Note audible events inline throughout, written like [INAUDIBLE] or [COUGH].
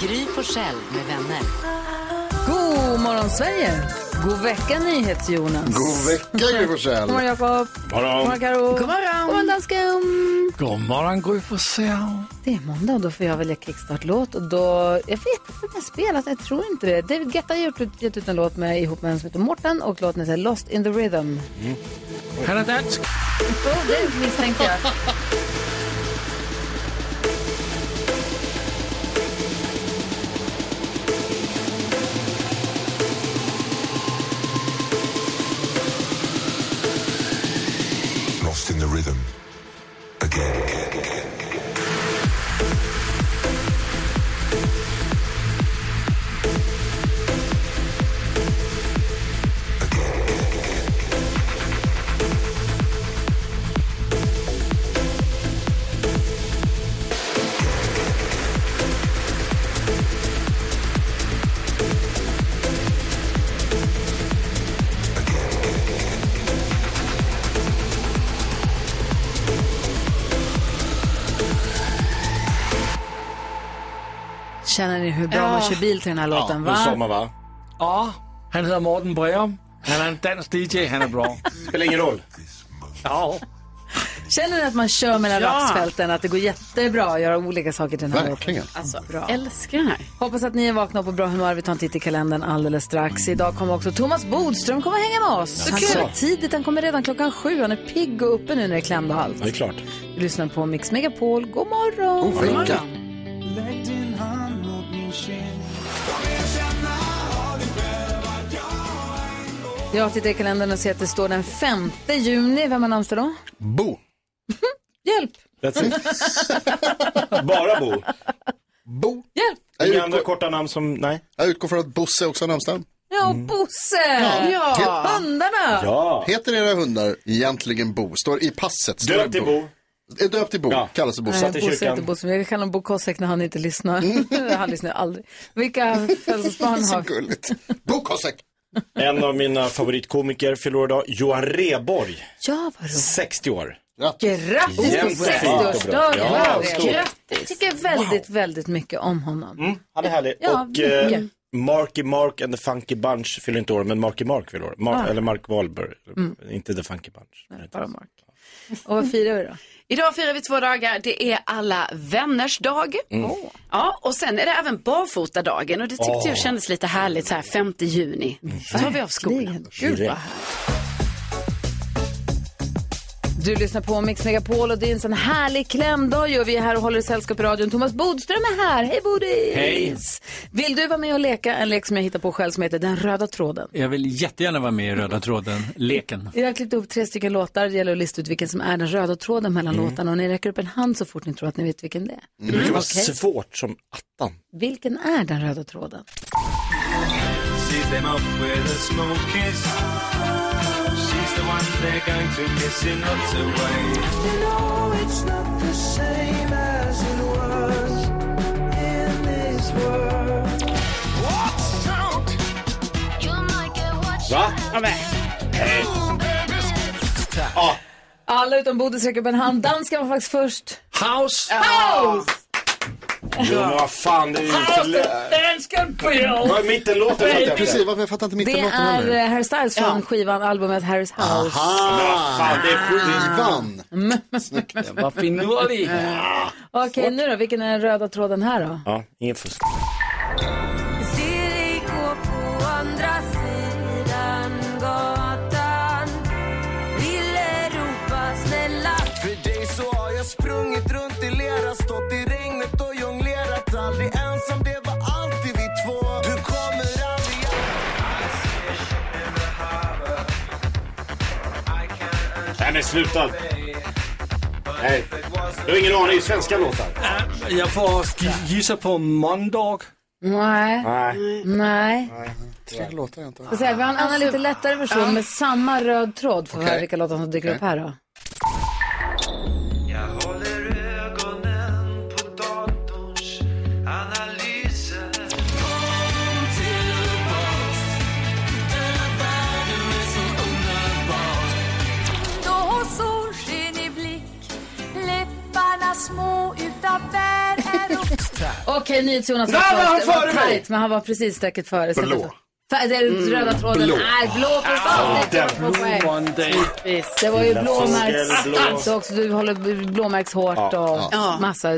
Gry Forssell med vänner. God morgon, Sverige! God vecka, NyhetsJonas. God vecka Gry Forssell. God morgon, Jakob. God morgon, Karo. God morgon. God morgon, dansken. God morgon Gry Forssell. Det är måndag och då får jag välja kickstartlåt. Och då, jag vet inte om jag spelat, alltså, jag tror inte det. David Guetta har gjort ut- gett ut en låt med, ihop med en som heter Morten och låten heter Lost in the Rhythm. Han Mm. är dansk. Oh, det misstänkte jag. [LAUGHS] Lost in the rhythm. Again. Känner ni hur bra man kör bil till den här låten? nu sa va? man va? Ja, han heter Morten Breum. Han är en dansk DJ, han är bra. Spelar ingen roll. Ja, Känner ni att man kör mellan Ja. rapsfälten, att det går jättebra att göra olika saker till den här låten? Verkligen. Alltså, bra. Älskar den här. Hoppas att ni är vakna och på bra humör. Vi tar en titt i kalendern alldeles strax. Idag kommer också Thomas Bodström komma och hänga med oss. han kul. kommer tidigt, han kommer redan klockan sju. Han är pigg och uppe nu när det är klämd och allt. Det är klart. Vi lyssnar på Mix Megapol. God morgon! God vecka. Jag tittar i kalendern och ser att det står den 5 juni. Vem har namnsdag då? Bo. Hjälp! That's it. Bara Bo. Bo. Hjälp! Jag Inga andra utgår, korta namn som, nej. jag utgår från att Bosse också har namnsdag. Ja, och Bosse! Mm. Ja. Bandarna! Ja. Heter era hundar egentligen Bo? Står i passet. Står det Döpt till Bo. Är döpt till Bo. Ja. Kallas för Nej, Bosse. i Bosse kyrkan. heter Bosse, men jag kallar honom Bo Kosek när han inte [LAUGHS] lyssnar. han lyssnar aldrig. Vilka [LAUGHS] födelsedagsbarn Så har gulligt. Bo Kosek. En av mina favoritkomiker fyller år idag, Johan Rheborg, Ja, vad roligt. 60 år. Grattis på Jämnt bra. 60-årsdagen! Ja, Wow. stort. Mm. Jag tycker väldigt, väldigt mycket om honom. Han är härlig. Ja, och eh, mycket. Marky Mark and the Funky Bunch fyller inte år, men Marky Mark fyller år. Mar- Eller Mark Wahlberg, inte the Funky Bunch. Bara Mark. Och vad firar vi då? Idag firar vi två dagar. Det är alla vänners dag. Mm. Ja, och sen är det även barfotadagen och det tyckte jag kändes lite härligt så här 5 juni. Så tar vi av skorna. Gud vad härligt. Du lyssnar på Mix Megapol och det är en sån härlig klämdag ju. Vi är här och håller sällskap i radion. Thomas Bodström är här. Hej Bodis! Hej. Vill du vara med och leka en lek som jag hittar på själv som heter Den röda tråden? jag vill jättegärna vara med i Röda tråden, leken. Jag har klippt ihop tre stycken låtar. Det gäller att lista ut vilken som är den röda tråden mellan Mm. låtarna. Och ni räcker upp en hand så fort ni tror att ni vet vilken det är. Det brukar vara Okej. svårt som attan. Vilken är den röda tråden? Va? Alla utom Bodis räcker upp en hand. Dansken var faktiskt först. House! Jo, men vad fan, det är ju för Ah, lä- Dansken på Vad är mittenlåten? fattar jag inte. Precis, varför jag fattar inte Det mitten låten är heller. eh, Harry Styles från skivan, albumet Harry's House. Vad fan, det är sjukt. Ivan. Mm. Vad finurlig! Okej, nu då. Vilken är den röda tråden här då? Ja, ingen fusk. Nej men sluta! Nej, du har ingen aning, det är svenska låtar. Jag får gi- gissa på Mondog. Nej. Nej. Nej. Tre låtar jag inte har. Så här, vi har en annan lite lättare version med samma röd tråd. Får vi Okej. höra vilka låtar som dyker upp här då. Då solsken i blick, läpparna små utav bär är och Okej, NyhetsJonas var Nej, men han först. Det var före mig! Mm, tajt, men han var precis säkert före. Så Blå. att- Fär, det är den röda tråden. blå. Nej, blå Ah, för fan. Det är två poäng. Visst, Det var ju Lilla blåmärks... fågel, blå. Så också, du håller b- blåmärkshårt och massa...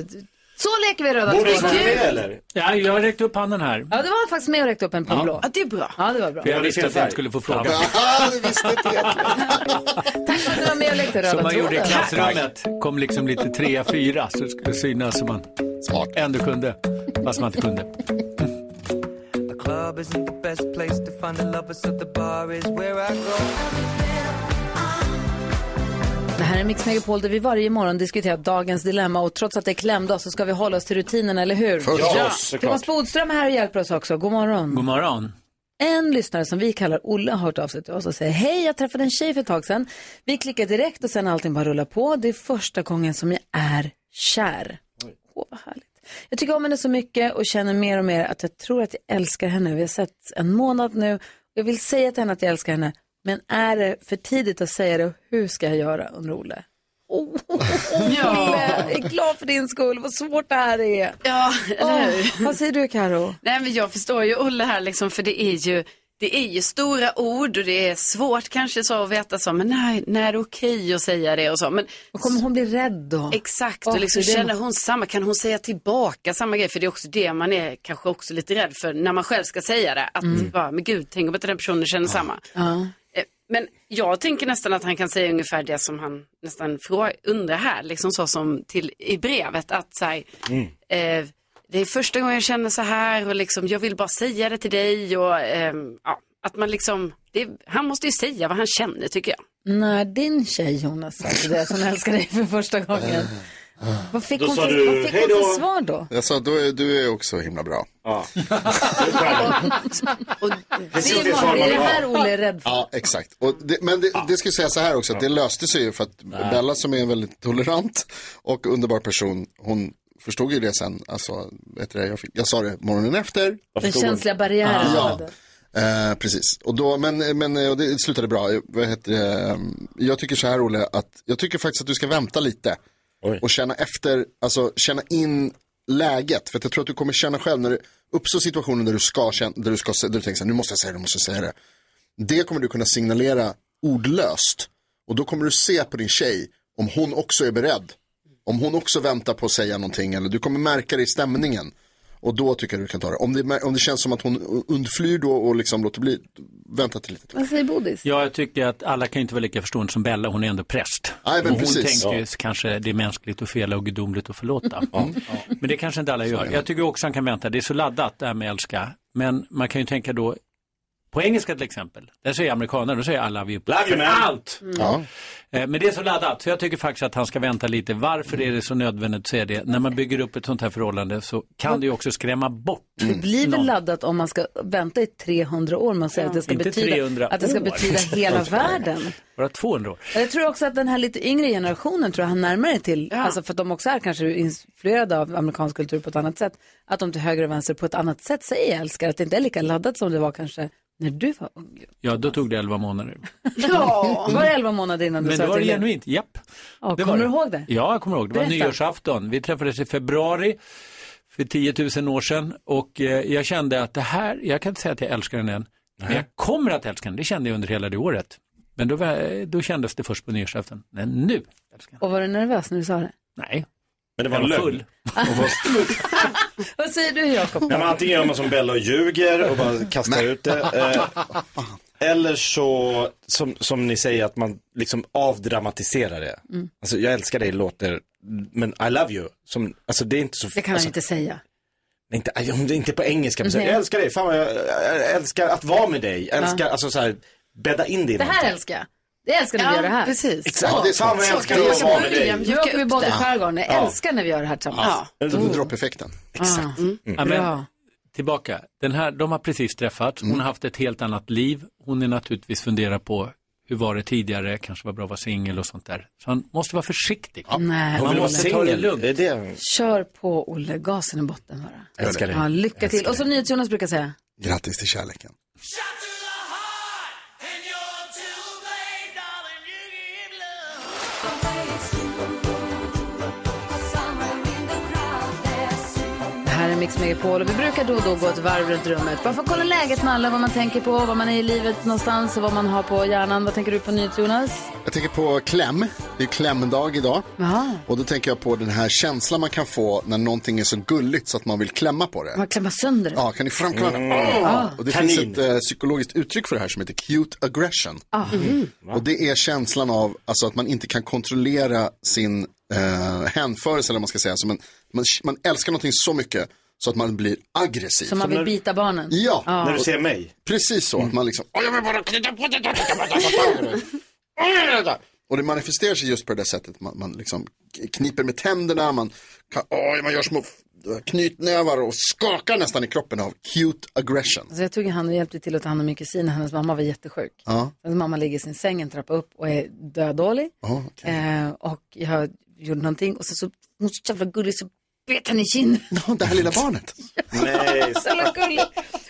Så leker vi röda Borde tråden. du med eller? Ja, jag har räckt upp handen här. Ja, det var faktiskt med och räckte upp en på en blå. Ja, det är bra. Ja, det var bra. För jag det är visste fel att jag färg. inte skulle få frågan. Ah, det visste inte jag. Tack för att du var med och lekte röda Som man gjorde i tråden. klassrummet. Kom liksom lite trea, fyra så det skulle synas som man Smart. ändå kunde, fast man inte kunde. Det här är Mix Megapol där vi varje morgon diskuterar dagens dilemma och trots att det är klämdag så ska vi hålla oss till rutinen, eller hur? Ja, Thomas såklart. Bodström är här och hjälper oss också. God morgon. God morgon. En lyssnare som vi kallar Olle har hört av sig till oss och säger hej, jag träffade en tjej för ett tag sedan. Vi klickar direkt och sen allting bara rullar på. Det är första gången som jag är kär. Åh, vad härligt. Jag tycker om henne så mycket och känner mer och mer att jag tror att jag älskar henne. Vi har sett en månad nu. Jag vill säga till henne att jag älskar henne, men är det för tidigt att säga det och hur ska jag göra, undrar Olle. Oh. Åh, Olle, jag är glad för din skull. Vad svårt det här är. Ja, eller hur? Åh, vad säger du, Karo? Nej, men jag förstår ju Olle här liksom, för det är ju, det är ju stora ord och det är svårt kanske så att veta så, men nej, när är det okej att säga det och så. Men Och Kommer hon bli rädd då? Exakt, Åh, och liksom det är det- känner hon samma, kan hon säga tillbaka samma grej? För det är också det man är kanske också lite rädd för när man själv ska säga det. Att bara, men gud, tänk om inte den personen känner samma. Eh, Men jag tänker nästan att han kan säga ungefär det som han nästan frå- undrar här, liksom så som till, i brevet. Att så här, eh, det är första gången jag känner så här och liksom, jag vill bara säga det till dig. Och, ehm, ja, att man liksom, det, han måste ju säga vad han känner tycker jag. När din tjej Jonas sa till dig att hon älskar dig för första gången. Vad fick Då hon sa för, du, vad fick hon "Hej då." för svar då? Jag sa, du är, du är också himla bra. Ja. Det är skärmen. Och, Det Precis är, det svar det, man är vill det ha. här Olle är rädd för. Ja, exakt. Och det, men det, det ska jag säga så här också, att det löste sig ju för att Bella som är en väldigt tolerant och underbar person, hon förstod ju det sen. Alltså, vet du, det, jag, fick, jag sa det morgonen efter. Den känsliga barriären. hon Ja, hade. eh, precis. Och då, men men eh, och det slutade bra. Eh, Vad heter det? Eh, Jag tycker så här Olle, att jag tycker faktiskt att du ska vänta lite. Oj. Och känna efter, alltså känna in läget. För att jag tror att du kommer känna själv när det uppstår situationen där du ska känna, där du ska, sä- där du tänker så här, nu måste jag säga det, nu måste jag säga det. Det kommer du kunna signalera ordlöst. Och då kommer du se på din tjej om hon också är beredd. Om hon också väntar på att säga någonting eller du kommer märka det i stämningen. Och då tycker jag du kan ta det. Om det, om det känns som att hon undflyr då och liksom låter bli, vänta till lite. till. Vad säger Bodis? Ja, jag tycker att alla kan ju inte vara lika förstående som Bella, hon är ändå präst. Nej, men och hon precis. tänker ju kanske det är mänskligt att fela och gudomligt att förlåta. Mm. Men det kanske inte alla gör. Jag tycker också han kan vänta, det är så laddat det här med älska. Men man kan ju tänka då, på engelska till exempel, där säger amerikaner, då säger alla vi Love you, man. Mm. allt. Mm. Ja. Eh, Men det är så laddat, så jag tycker faktiskt att han ska vänta lite. Varför är det så nödvändigt att säga det? När man bygger upp ett sånt här förhållande så kan det ju också skrämma bort. Mm, Det blir väl laddat om man ska vänta i 300 år. Man säger att det ska Inte betyda, 300 att det ska år. Alltså, betyda hela världen. Bara 200 år. Jag tror också att den här lite yngre generationen tror jag han närmare till, alltså för att de också är kanske influerade av amerikansk kultur på ett annat sätt, att de till höger och vänster på ett annat sätt säger jag älskar, att det inte är lika laddat som det var kanske när du var ung. Ja, då tog det 11 månader. Ja. Var det 11 månader innan du Men sa det var det till er? genuint, japp. Ja, Det kommer var du det. ihåg det? Ja, jag kommer ihåg. Det var Berätta. nyårsafton. Vi träffades i februari för 10 000 år sedan och eh, jag kände att det här, jag kan inte säga att jag älskar den än, men jag kommer att älska den. Det kände jag under hela det året. Men då, var- då kändes det först på nyårsafton. Men nu älskar jag Och var du nervös när du sa det? den. Nej, Men det var jag en var lögn. full. Vad säger du Jakob? Nej, men antingen gör man som Bella och ljuger och bara kastar ut det. Eh, eller så, som, som ni säger, att man liksom avdramatiserar det. Alltså, jag älskar dig låter, men I love you. Som, alltså, det är inte [LAUGHS] så... Det kan han alltså, inte säga. inte, aj, om det inte är på engelska, men så här, Nej. jag älskar dig, fan vad jag, jag älskar att vara med dig. Jag älskar, alltså så här, bädda in det i Det här någonting. älskar jag. Det älskar när vi gör [LAUGHS] det här. precis. Ja, det är Fan sant. vad jag älskar kan att man vara med börja. dig. Nu åker vi båt i skärgården. Jag Ja. Oh. älskar när vi gör det här tillsammans. Ja. Droppeffekten. Exakt. Ja, men, tillbaka. Den här, de har precis träffats, hon har haft ett helt annat liv. Hon är naturligtvis funderar på hur var det tidigare, kanske var bra att vara singel och sånt där. Så han måste vara försiktig. Nej, Man Hon var måste ta det singel. lugnt. Är det... Kör på Olle, gasen i botten bara. Alltså, Älskar det. Ja, lycka till. Och som NyhetsJonas brukar säga. Grattis till kärleken. Det här är Mix Megapol och vi brukar då och då gå ett varv runt rummet. Bara för att kolla läget med alla, vad man tänker på, vad man är i livet någonstans och vad man har på hjärnan. Vad tänker du på NyhetsJonas? Jag tänker på kläm. Det är klämdag idag. Jaha, Och då tänker jag på den här känslan man kan få när någonting är så gulligt så att man vill klämma på det. man klämmer sönder det. Ja, Mm. kan ni framkalla det? Mm. Och det Kanin. finns ett eh, psykologiskt uttryck för det här som heter cute aggression. Mm. Och det är känslan av alltså, att man inte kan kontrollera sin eh, hänförelse, eller vad man ska säga. Så man, man, man älskar någonting så mycket så att man blir aggressiv. Som man vill bita barnen. Alltså, Ja, När du ser mig. precis så. Att man liksom... "Åh, jag vill bara knyta på det där, knyta på det där, knyta på det där." Åh, Och det manifesterar sig just på det där sättet. Man, man liksom kniper med tänderna, man, kan, åh, man gör små knytnävar och skakar nästan i kroppen av cute aggression. Alltså jag tog hand och hjälpte till att ta hand om min kusin. Hennes mamma var jättesjuk. Ja. Hennes mamma ligger i sin säng en trappa upp och är dödålig. Ja, okej. Eh, och jag gjorde någonting och sen så, hon var så jävla gullig så bet han i kinden. [LAUGHS] Ja, [LAUGHS] Det här lilla barnet. Nej, Så jävla gullig.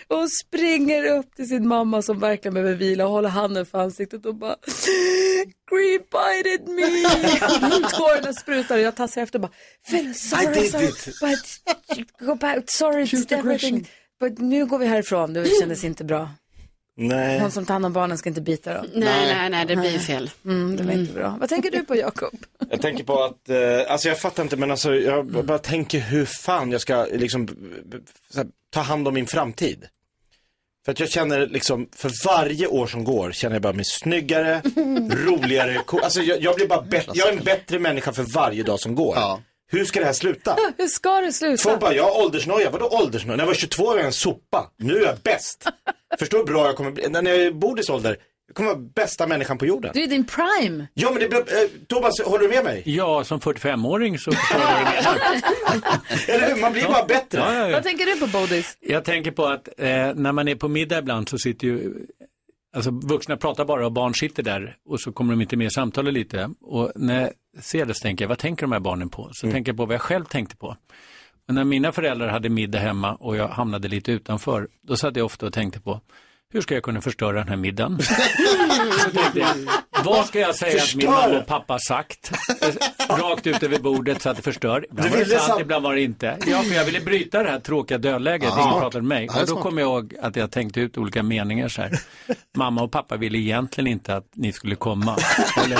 Och hon springer upp till sin mamma som verkligen behöver vila och håller handen för ansiktet och bara Creep bited me. [LAUGHS] Tårarna sprutar och jag tassar efter och bara Fell, sorry, I did sorry, but go back, sorry, it's everything. But nu går vi härifrån, det kändes inte bra. [LAUGHS] nej. Någon som tar hand om barnen ska inte bita dem. Nej, nej, nej, det blir ju fel. Mm, det var inte bra. Vad tänker du på Jakob? Jag tänker på att, eh, alltså jag fattar inte men alltså jag b- bara tänker hur fan jag ska liksom b- b- så här, ta hand om min framtid. För att jag känner liksom, för varje år som går känner jag bara mig [LAUGHS] snyggare, roligare, co- alltså jag, jag blir bara bättre, jag är en bättre människa för varje dag som går. Ja. Hur ska det här sluta? Hur ska det sluta? Folk bara, jag har åldersnoja, vadå åldersnoja? När jag var 22 var jag en sopa, nu är jag bäst. Förstår du hur bra jag kommer bli, när jag är i Bodis ålder, jag kommer vara bästa människan på jorden. Du är din prime. Ja men det, blir- eh, Thomas, håller du med mig? Ja, som 45-åring så förstår jag det. Eller hur? Man blir bara bättre. Ja, ja, ja. Vad tänker du på Bodis? Jag tänker på att eh, när man är på middag ibland så sitter ju, alltså vuxna pratar bara och barn sitter där och så kommer de inte med i samtalet lite. Och när jag ser det så tänker jag, vad tänker de här barnen på? Så tänker jag på vad jag själv tänkte på. Men när mina föräldrar hade middag hemma och jag hamnade lite utanför, då satt jag ofta och tänkte på, hur ska jag kunna förstöra den här middagen? Så tänkte jag, vad ska jag säga att min Förstör. mamma och pappa har sagt? eh, Rakt ut över bordet så att det förstör. Ibland Du var det ville sant, sam- ibland var det inte. Ja, för jag ville bryta det här tråkiga dödläget. Ingen pratade med mig. Ja, det är Och då smart. kom jag ihåg att jag tänkte ut olika meningar så [LAUGHS] här. Mamma och pappa ville egentligen inte att ni skulle komma. Eller...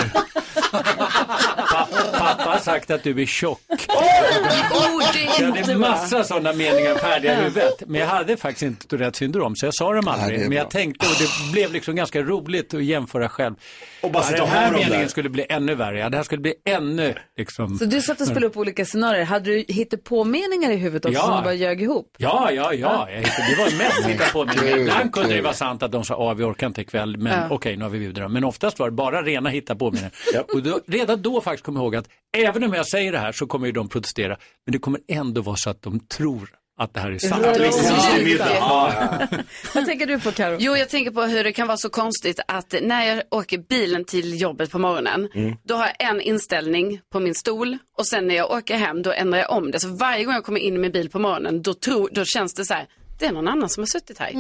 Pappa, pappa har sagt att du är tjock. Jag hade massa sådana meningar färdiga i huvudet. Men jag hade faktiskt inte Tourettes syndrom, så jag sa dem aldrig. det är men jag bra. tänkte, och det blev liksom ganska roligt att jämföra själv. Och bara Ja, sitta den och här ha dem meningen där. skulle bli ännu värre. Ja, det här skulle bli ännu liksom... Så du satt och spelade upp olika scenarier. Hade du hittat på meningar i huvudet också Ja. som du bara ljög ihop? Ja, ja, ja. Jag hittade, det var mest hitta på mig. Kul, Ibland kunde det kul. vara sant att de sa, ah, vi orkar inte ikväll, men okej, nu har vi bjudit dem. Men oftast var det bara rena hitta på mig. Och då, redan då faktiskt kom jag ihåg att även om jag säger det här så kommer ju de protestera, men det kommer ändå vara så att de tror att det här är sant. Ja. Riktig middag. Ja, ja. Vad tänker du på Karo? Jo, jag tänker på hur det kan vara så konstigt att när jag åker bilen till jobbet på morgonen, då har jag en inställning på min stol och sen när jag åker hem, då ändrar jag om det. Så varje gång jag kommer in i min bil på morgonen, då, tror, då känns det så här, det är någon annan som har suttit här.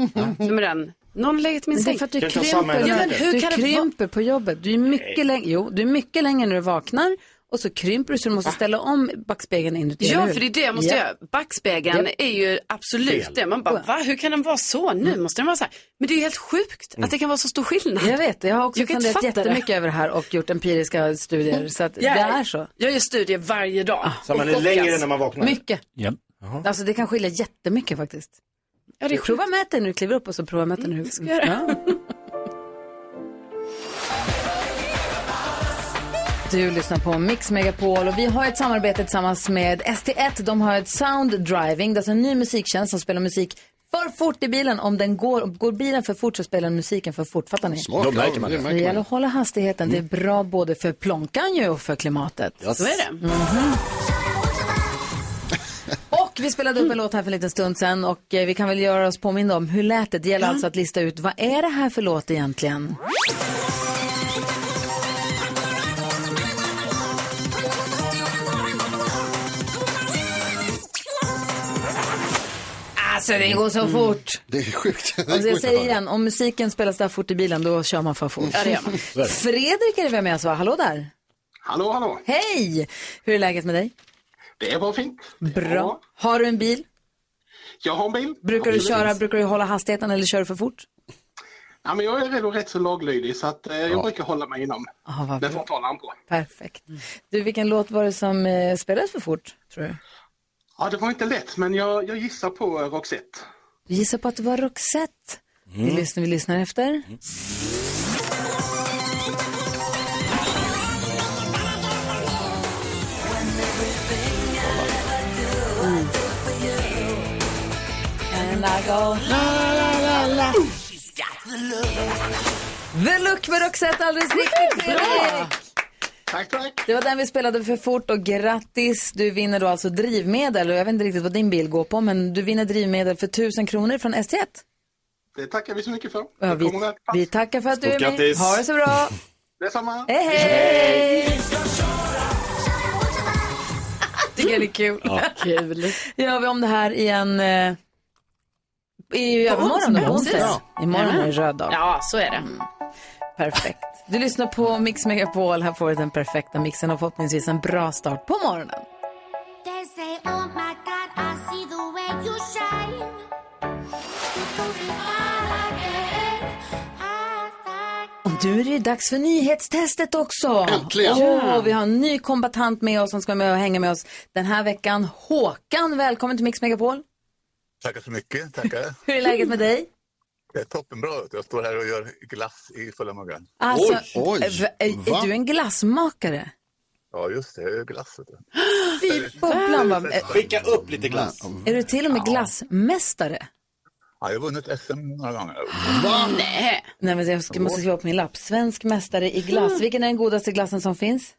Som är den, någon har legat i min Det är säng. för att du Jag kan samma krymper, energi. ja, Ja, men men hur du kan det krymper på jobbet. Du är, mycket läng- jo, du är mycket längre när du vaknar och så krymper du så du måste ställa om backspegeln inuti. Ja, eller hur? för det är det jag måste Ja. göra. Backspegeln är ju absolut det. Man bara, va? Hur kan den vara så? Nu måste den vara så här. Men det är ju helt sjukt att det kan vara så stor skillnad. Mm. Jag vet, jag har också Jag kan inte funderat fatta det. jättemycket över det här och gjort empiriska studier. Så att Jag- det är så. Ah. Jag gör studier varje dag. Så man är Och längre chockas. när man vaknar. Mycket. Ja. Alltså det kan skilja jättemycket faktiskt. Ja, det är sjukt. Mm. Prova mätaren när du kliver upp och så prova mätaren hur ska jag göra. Ja. Du lyssnar på Mix Megapol och vi har ett samarbete tillsammans med ST1. De har ett Sound Driving, det är alltså en ny musiktjänst som spelar musik för fort i bilen. Om den går, om går bilen för fort så spelar den musiken för fort. Fattar ni? Smart, Då märker man ja, det. Det gäller att hålla hastigheten. Det är bra både för Mm. plånkan ju och för klimatet. Så är det. Och Vi spelade upp en låt här för en liten stund sedan och eh, vi kan väl göra oss påminna om hur lät det. Det gäller alltså att lista ut vad är det här för låt egentligen? Alltså det går Mm. så fort. Det är sjukt. Det Alltså går jag inte säger att igen, om musiken spelas där fort i bilen då kör man för fort. Ja, det gör [LAUGHS] man. Fredrik är det vem jag sa, hallå där. Hallå, hallå. Hej! Hur är läget med dig? Det var fint. Bra. Har du en bil? Jag har en bil. Brukar du Absolut. köra, brukar du hålla hastigheten eller kör du för fort? Ja, men jag är redan rätt så laglydig så att, eh, jag brukar hålla mig inom Ah, vad den bra. frontalarm på. Perfekt. Du, vilken låt var det som eh, spelades för fort, tror du? Ja, det var inte lätt, men jag, jag gissar på eh, Roxette. Vi gissar på att det var Roxette. Vi, lyssnar, vi lyssnar efter. Mm. And I go The Look med Roxette, alldeles riktigt Fredrik! Tack, tack. Det var den vi spelade för fort och grattis, du vinner då alltså drivmedel och jag vet inte riktigt vad din bil går på men du vinner drivmedel för 1000 kronor från ST1. Det tackar vi så mycket för. Ja, Det vi, kommer att vi tackar för att du Stort är med. grattis. Ha det så [LAUGHS] bra. Detsamma. Hej, hej! Tycker jag det är kul. [LAUGHS] Kul. gör vi om det här igen eh, i övermorgon då, på onsdag. Imorgon är det röd dag. Ja, så är det. Mm. Perfekt. Du lyssnar på Mix Megapol. Här får du den perfekta mixen och förhoppningsvis en bra start på morgonen. They say, oh my God, I see the way you shine. Och nu är det ju dags för nyhetstestet också. Äntligen. Åh, vi har en ny kombatant med oss som ska vara med och hänga med oss den här veckan. Håkan, välkommen till Mix Megapol. Tackar så mycket. Tackar. Hur är läget med dig? Det är toppenbra. Jag står här och gör glass i fulla muggar. Alltså, Oj, oj, är, är va? du en glassmakare? Ja, just det. Jag gör glass. Vet du. Fy bubblan, vad... är- Skicka upp lite glass. Är du till och med glassmästare? Ja, jag har vunnit SM några gånger. Nej. Nej, men jag ska- måste skriva upp min lapp. Svensk mästare i glass. Vilken är den godaste glassen som finns?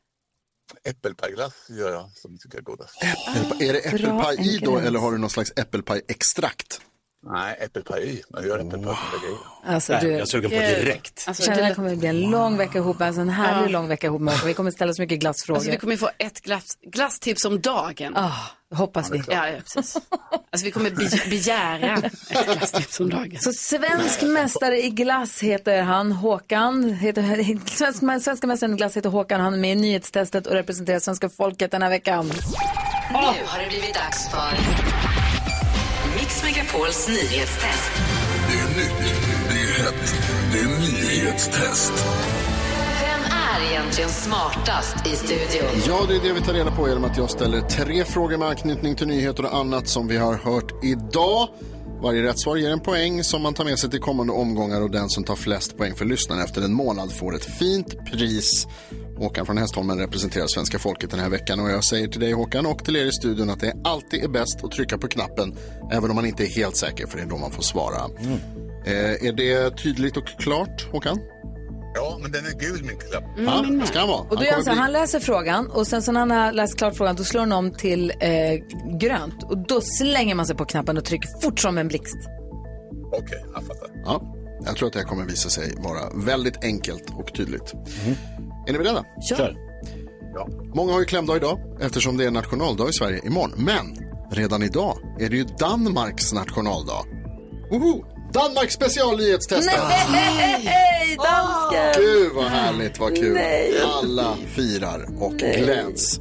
Äppelpajglass gör jag som tycker är godast. Ah, Äppelpaj. Är det äppelpaj i då enkel. eller har du någon slags äppelpaj-extrakt? Nej, äppelpaj i. Man gör äppelpaj som lägger i. Alltså, Nej, du, jag suger på Eh, direkt. Alltså, Känner att det, det kommer att bli en lång vecka ihop, alltså en härlig lång vecka ihop med Håkan. Vi kommer ställa så mycket glassfrågor. alltså, vi kommer ju få ett glass, glasstips om dagen. ah, hoppas vi. Ja, ja, precis. Alltså vi kommer be- begära ett glasstips om dagen. Så svensk mästare i glass heter han, Håkan. Heter, svensk, svenska mästaren i glass heter Håkan. Han är med i nyhetstestet och representerar svenska folket den här veckan. Nu har det blivit dags för Mix Megapols nyhetstest. Vem är egentligen smartast i studion? Ja, det är det vi tar reda på genom att jag ställer tre frågor med anknytning till nyheter och annat som vi har hört idag. Varje rätt svar ger en poäng som man tar med sig till kommande omgångar och den som tar flest poäng för lyssnaren efter en månad får ett fint pris. Håkan från Hästholmen representerar svenska folket den här veckan och jag säger till dig Håkan och till er i studion att det alltid är bäst att trycka på knappen även om man inte är helt säker för det är då man får svara. Eh, är det tydligt och klart Håkan? Ja, men den är gul, min klapp. Ja, det ska han vara. Och då Han gör han kommer så här, bli- han läser frågan och sen så när han har läst klart frågan då slår han om till eh, grönt. Och då slänger man sig på knappen och trycker fort som en blixt. Ah. Okej, jag fattar. Ja, jag tror att det här kommer visa sig vara väldigt enkelt och tydligt. Är ni beredda? Kör. Ja. Många har ju klämdag idag eftersom det är nationaldag i Sverige imorgon. Men redan idag är det ju Danmarks nationaldag. Woho! Danmarks specialnyhetstest! Hej, dansken! Gud vad härligt, vad kul. Alla firar och gläds.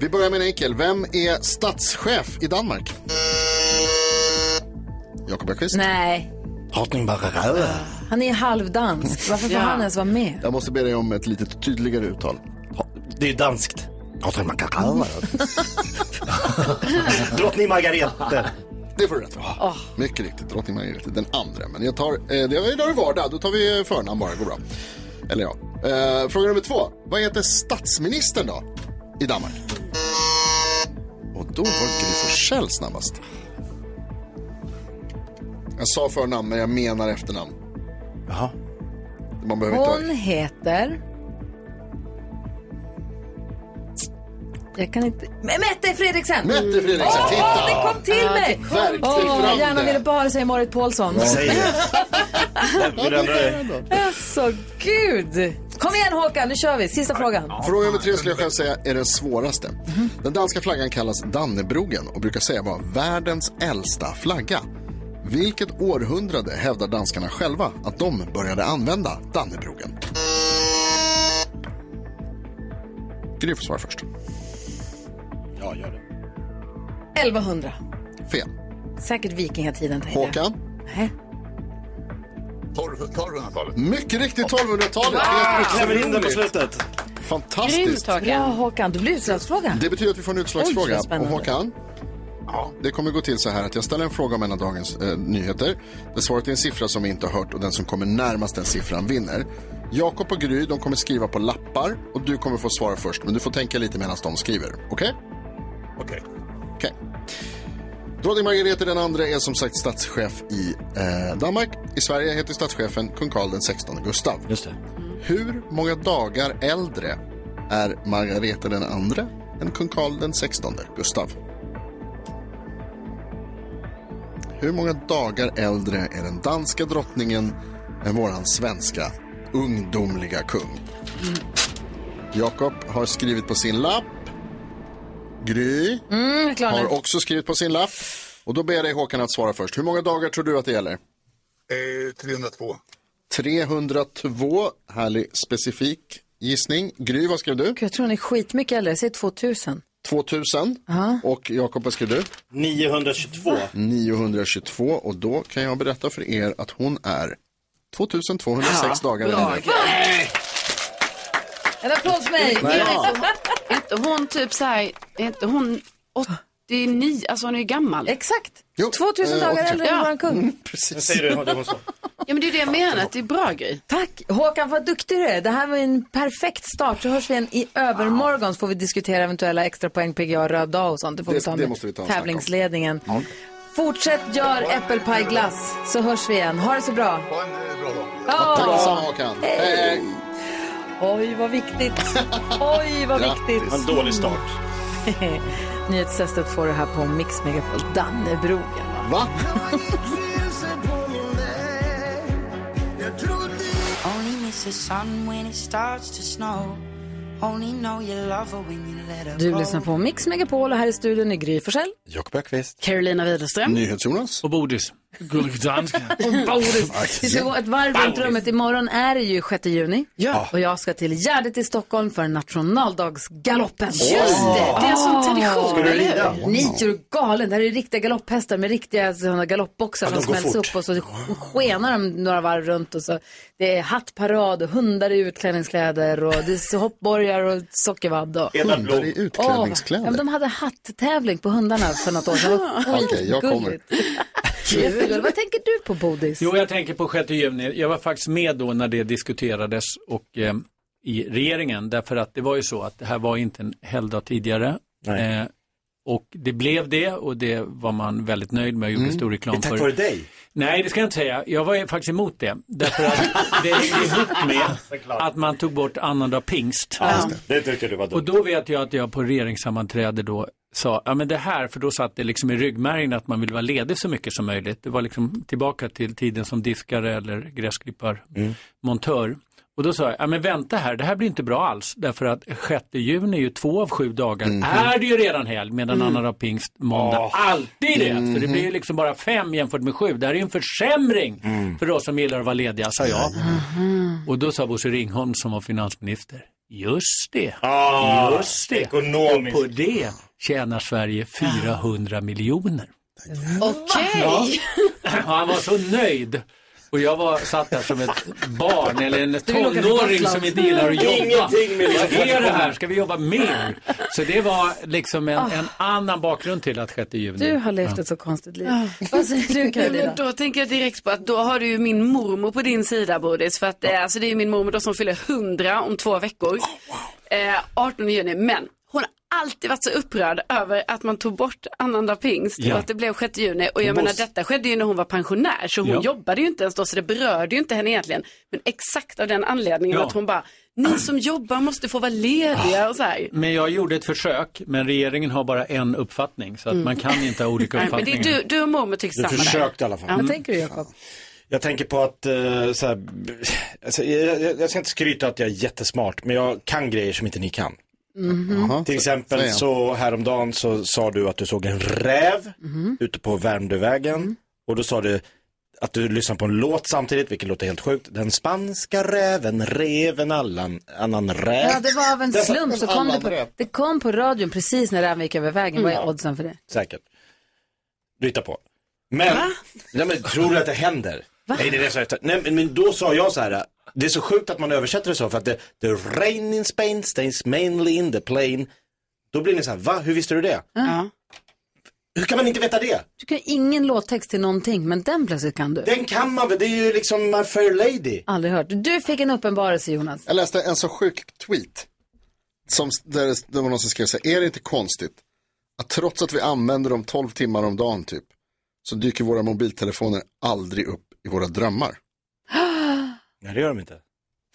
Vi börjar med en enkel. Vem är statschef i Danmark? Jakob Öqvist. Nej, Drottning Barbarella. han är halvdansk. Varför får Ja. han ens vara med? Jag måste be dig om ett lite tydligare uttal. Det är danskt. [LAUGHS] Drottning Margareta. Drottning Margareta. Det får du rätt Ah. för. Mycket riktigt, drottning Margrethe den andra. Men jag tar, eh, det är idag är vardag, då tar vi eh, förnamn bara, går bra. Eller ja. Eh, fråga nummer två. Vad heter statsministern då i Danmark? Och då var Gry Forssell snabbast. Jag sa förnamn, men jag menar efternamn. Jaha. Man behöver inte Hon vara... heter... Jag kan inte... Men Mette Fredriksen! Mette Fredriksen, Åh, titta! det kom till Ja, mig! det kom verkligen Åh, jag fram gärna det. ville bara säga Marit Paulsson. Ja, säg [LAUGHS] Alltså, gud! Kom igen Håkan, nu kör vi. Sista frågan. Fråga nummer tre skulle jag själv säga är den svåraste. Den danska flaggan kallas Dannebrogen och brukar säga vara världens äldsta flagga. Vilket århundrade hävdar danskarna själva att de började använda Dannebrogen? Gry får svara först. Ja, gör det. 1100. Fel. Säkert vikingatiden, tänkte jag. Håkan? Nej. 1200-talet. Mycket riktigt 1200-talet. Ah, Helt klämmer in den på otroligt. slutet. Fantastiskt. Bra Håkan, du blir utslagsfråga. Det betyder att vi får en Oj, utslagsfråga. vad och spännande. Håkan? Det kommer gå till så här att jag ställer en fråga om en av dagens eh, nyheter. Där svaret är en siffra som vi inte har hört och den som kommer närmast den siffran vinner. Jakob och Gry de kommer skriva på lappar och du kommer få svara först. Men du får tänka lite medan de skriver. Okej? Okej. Okej. Drottning Margareta den andra är som sagt statschef i eh, Danmark. I Sverige heter statschefen kung Carl den 16 Gustav. Just det. Hur många dagar äldre är Margareta den andra än kung Carl den 16 Gustav? Hur många dagar äldre är den danska drottningen än våran svenska ungdomliga kung? Jakob har skrivit på sin lapp. Gry Mm, jag klarar har det. också skrivit på sin lapp. Och då ber jag dig Håkan att svara först. Hur många dagar tror du att det gäller? Eh, 302. 302. Härlig specifik gissning. Gry, vad skrev du? Jag tror den är skitmycket äldre. Jag säger 2000. 2000. Och Jakob, vad skrev du? 922. 922. Och då kan jag berätta för er att hon är 2206 dagar bra. äldre. En applåd för mig! Nej. Är inte hon typ så här, är inte hon 89, alltså hon är ju gammal. Exakt. Jo, Eh, 2000 dagar äldre än våran kung. Precis. Vad säger du? Ja, det var så. Ja men det är det jag menar, att det är bra grej. Tack! Håkan, vad duktig du är. Det här var en perfekt start. Så hörs vi igen i övermorgon så får vi diskutera eventuella extra poäng, PGA, röd dag och sånt. Det får Det- vi ta det med måste vi ta och snacka om. tävlingsledningen. Fortsätt gör äppelpajglass så hörs vi igen. Ha det så bra! Ha en eh, bra dag. Ja. Tack detsamma Håkan. Hej. Hej, hej. Oj, vad viktigt! Oj, vad Grattis. viktigt! En dålig start. Nyhetstestet får du här på Mix Megapol. Dannebrogen. Va? Only miss the sun when it starts to snow. Only know you love her when you let her Du go. lyssnar på Mix Megapol och här i studion är Gry Forssell. Jakob Öqvist. Carolina Widerström. NyhetsJonas. Och Bodis. Gullig dansk. [LAUGHS] Vi ska gå ett varv runt rummet. Imorgon är det ju 6 juni. Ja. Och jag ska till Gärdet i Stockholm för nationaldagsgaloppen. Just det, det är en sån Ah. tradition, Ska du eller rida? hur? Ni är ju galen. Det här är riktiga galopphästar med riktiga sådana galoppboxar Ja, de som går smälls fort. upp och så skenar de några varv runt och så det är hattparad och hundar i utklädningskläder och det är hoppborgar och sockervadd. Och... Hundar i Åh, ja, men utklädningskläder. de hade hatttävling på hundarna för något år sedan. Det var Okej, jag kommer. skitgulligt. Jättegulligt. Vad tänker du på Bodis? Jo, jag tänker på 6 juni. Jag var faktiskt med då när det diskuterades och eh, i regeringen. Därför att det var ju så att det här var inte en helgdag tidigare. Nej. Eh, och det blev det och det var man väldigt nöjd med och gjorde Mm. stor reklam Det är tack för. vare dig. Nej, det ska jag inte säga. Jag var ju faktiskt emot det. Därför att det hängde ihop [LAUGHS] med att man tog bort annandag pingst. Ja, det tyckte du var dumt. Och då vet jag att jag på regeringssammanträde då sa, ja men det här, för då satt det liksom i ryggmärgen att man vill vara ledig så mycket som möjligt. Det var liksom tillbaka till tiden som diskare eller gräsklipparmontör. Och då sa jag, ja men vänta här, det här blir inte bra alls. Därför att 6 juni är ju två av sju dagar, är det ju redan helg, medan Mm. annandag pingst, måndag, Ah. alltid det. Så det Mhm. blir ju liksom bara fem jämfört med sju. Det här är ju en försämring för oss som gillar att vara lediga, sa jag. Och då sa Bosse Ringholm som var finansminister, just det, Ah, just det. ekonomiskt. Och på det tjänar Sverige 400 miljoner. Okej. Och han var så nöjd. Och jag var, satt där som ett barn eller en Du vill åka till tonåring Gotland. som inte gillar att jobba. Ingenting med Vad det. är det här? Ska vi jobba mer? Så det var liksom en, en annan bakgrund till att 6 juni. Du har levt ett så konstigt liv. Vad säger du Ja, Karolina? men Då tänker jag direkt på att då har du ju min mormor på din sida Bodis. För att eh, alltså, Oh, det är ju min mormor då som fyller 100 om två veckor. Eh, 18 juni. Men hon har alltid varit så upprörd över att man tog bort annandag pingst Ja. och att det blev 6 juni. Och jag Hon menar måste- detta skedde ju när hon var pensionär så hon Ja. jobbade ju inte ens då så det berörde ju inte henne egentligen. Men exakt av den anledningen Ja. att hon bara, ni som jobbar måste få vara lediga och så här. Men jag gjorde ett försök, men regeringen har bara en uppfattning så att Mm. man kan inte ha olika Nej, men det uppfattningar. är du, du och mormor tycks Du samma försökte där. i alla fall. Ja. Vad tänker du Jakob? Jag tänker på att, eh, så här, b- alltså, jag, jag, jag ska inte skryta att jag är jättesmart, men jag kan grejer som inte ni kan. Till exempel Säg. så häromdagen så sa du att du såg en räv Mhm. ute på Värmdövägen. Och då sa du att du lyssnade på en låt samtidigt, vilket låter helt sjukt. Den spanska räven, reven allan, annan räv. Ja, det var av en Den- slump. Så kom det, Allan på, räv. det kom på radion precis när räven gick över vägen. Vad är Mm. oddsen för det? Säkert. Du hittar på. Men, nej, men tror du att det händer? Nej, det är det som jag tar- nej, men- men då sa jag så här, det är så sjukt att man översätter det så för att det, the rain in Spain stays mainly in the plain. Då blir ni så här, va, hur visste du det? Ja. Hur kan man inte veta det? Du kan ju ingen låttext till någonting, men den plötsligt kan du. Den kan man väl, det är ju liksom My Fair Lady. Aldrig hört. Du fick en uppenbarelse Jonas. Jag läste en så sjuk tweet. Som, där det var någon som skrev så här, är det inte konstigt att trots att vi använder dem 12 timmar om dagen typ, så dyker våra mobiltelefoner aldrig upp i våra drömmar. Nej, det gör de inte.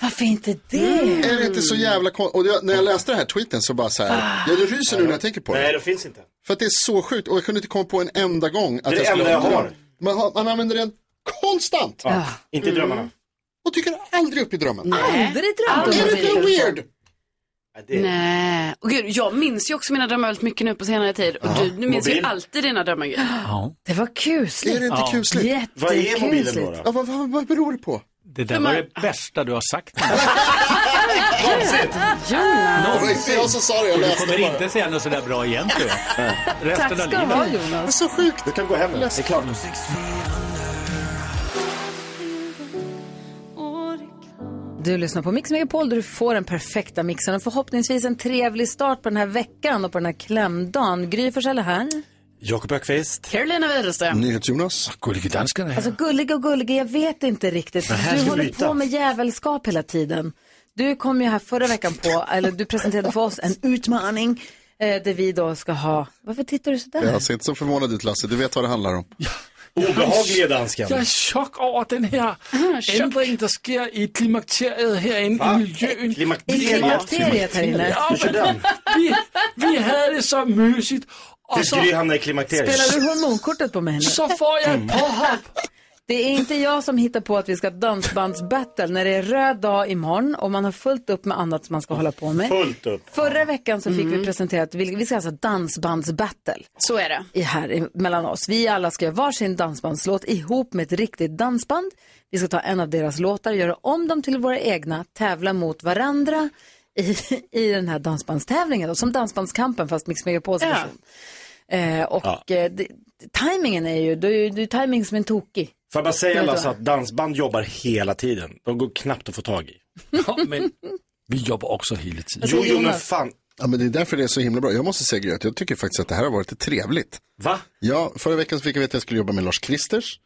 Varför inte det? Är det inte så jävla konstigt? Och jag, när jag läste den här tweeten så bara så här, jag ryser nu när jag tänker på det. Nej, det finns inte. För att det är så sjukt och jag kunde inte komma på en enda gång att Det är det skulle enda jag ha en har. dröm. Man, har, man använder den konstant. Ja, inte i Mm. drömmarna. Och dyker aldrig upp i drömmen. Aldrig drömt om Är det inte mobiltelefon. weird? Nej, och gud, jag minns ju också mina drömmar väldigt mycket nu på senare tid. Och du, du minns ju Mobil. alltid dina drömmar. Gry. Det var kusligt. Är det inte kusligt? Ja, vad, vad, vad beror det på? [LAUGHS] Det där var det bästa du har [LAUGHS] sagt. Ah, Det var inte jag som sa det, jag Du läste kommer bara. inte säga något sådär bra igen tror jag. Resten av Tack ska du ha livet. Jonas. Så sjukt. Du kan gå hem nu, det är klart. Du lyssnar på Mix Megapol där du får den perfekta mixen och förhoppningsvis en trevlig start på den här veckan och på den här klämdagen. Gry Forssell är här. Jakob Ökvist. Carolina Widerström. NyhetsJonas. Gullige danskarna. Alltså gullig och gullig, jag vet inte riktigt. Det här Du ska håller brytas. på med jävelskap hela tiden. Du kom ju här förra veckan på, eller du presenterade för oss en utmaning eh, där vi då ska ha, varför tittar du sådär? Jag ser inte så förvånad ut Lasse, du vet vad det handlar om. Obehagliga dansken. Jag är i chock över den här ändring som sker i klimakteriet här inne i miljön. I klimakteriet här inne. Ja, men, vi, vi hade det så mysigt. Och Tills så, Gry hamnar i klimakteriet. Spelar du hormonkortet på mig nu? så får jag ett påhopp. Det är inte jag som hittar på att vi ska dansbandsbattle när det är röd dag imorgon och man har fullt upp med annat som man ska hålla på med. Fullt upp. Förra veckan så fick vi presenterat, vi vi ska alltså dansbandsbattle Så är det. i här i- mellan oss. Vi alla ska göra varsin dansbandslåt ihop med ett riktigt dansband. Vi ska ta en av deras låtar, göra om dem till våra egna, tävla mot varandra i, [LAUGHS] i den här dansbandstävlingen. Då, som Dansbandskampen fast Mix Megapols Ja. version. Eh, och eh, det, tajmingen är ju, det är ju det är tajming som en tokig. Får jag bara Det säga vet Lasse jag. att dansband jobbar hela tiden. De går knappt att få tag i. men vi jobbar också hela tiden. Jo, jo, men fan. Ja, men det är därför det är så himla bra. Jag måste säga Gry, att jag tycker faktiskt att det här har varit trevligt. Va? Ja, förra veckan så fick jag veta att jag skulle jobba med Lars Kristers.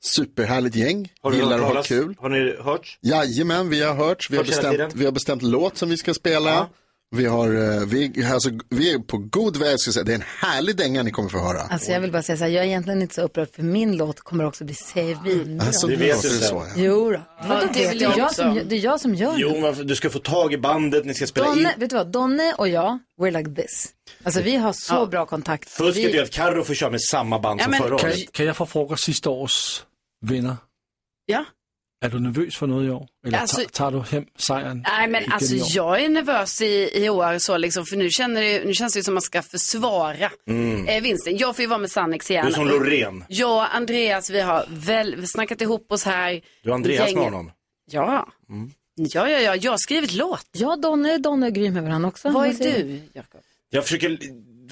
Superhärligt gäng, Mm. Har du gillar hört att ha talas? kul. Har ni hört? Jajamän, vi har hört, vi har, Hört hela bestämt, tiden? vi har bestämt låt som vi ska spela. Vi, har, eh, vi, alltså, vi är på god väg, ska jag säga. det är en härlig dänga ni kommer få höra. Alltså jag vill bara säga så här, jag är egentligen inte så upprörd för min låt kommer också bli svinbra. Alltså, det vet du så, ja. Jo då. Ja, det, det vet vill du. jag jag också. som, det är jag som gör Jo, men du ska få tag i bandet, ni ska det. spela in. Donne, vet du vad, Donne och jag, we're like this. Alltså vi har så bra kontakt. Fusket är vi... att Carro får köra med samma band Ja, som men- förra Kan- året. Kan jag få fråga sista års vänner? Ja. Är du nervös för något i år? Eller Altså- tar, tar du hem sejren? Nej men igen alltså i år? jag är nervös i, i år så liksom för nu, känner det, nu känns det ju som man ska försvara Mm. eh, vinsten. Jag får ju vara med Sannex igen. Du är som Loreen. Jag och Andreas vi har väl snackat ihop oss här. Du har Andreas med Gänget- honom. Ja. Mm. ja, ja, ja, jag har skrivit låt. Ja, Donne, Donne är grym med varandra också. Vad är säger du? Jakob? Jag försöker...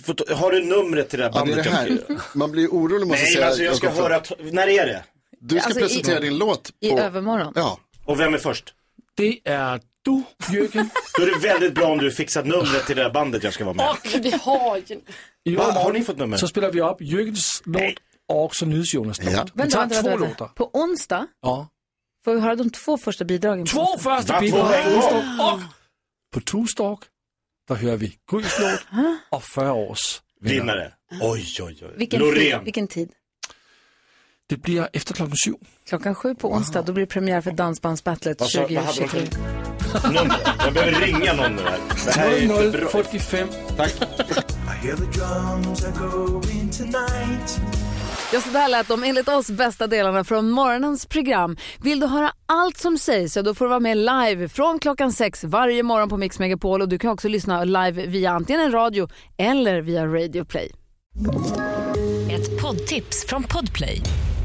få ta- Har du numret till det här Ja, det är bandet? det här. Man blir orolig måste jag Nej, säga. alltså jag ska Jakob, för- höra... t- När är det? Du ska Alltså, i- presentera din låt I på... övermorgon. Ja. Och vem är först? Det är du, Jürgen. Då är det väldigt bra om du fixar numret till det här bandet jag ska vara med. vi har ju... I Har- år har ni fått nummer? Så spelar vi upp Jürgens låt och också Nils Jonas låt. Vi Vänta, tar vänta, två vänta, låtar. vänta. På onsdag Ja. får vi höra de två första bidragen. på Två onsdag. första Va, två bidrag på en gång? och på Tusdag där hör vi Guds låt av förra års Vinnare. Oj, oj, oj. Vilken tid? Loreen. Vilken tid? Det blir efter klockan sju. Klockan sju på onsdag, då blir det premiär för Dansbandsbattlet Alltså, Vad sa- vad hade de 2023. för- Jag behöver ringa någon nu här. Det här är ju inte bra. 45. Tack. Ja, så där lät de enligt oss bästa delarna från morgonens program. Vill du höra allt som sägs så då får du vara med live från klockan sex varje morgon på Mix Megapol och du kan också lyssna live via antingen en radio eller via Radio Play. Ett poddtips från Podplay.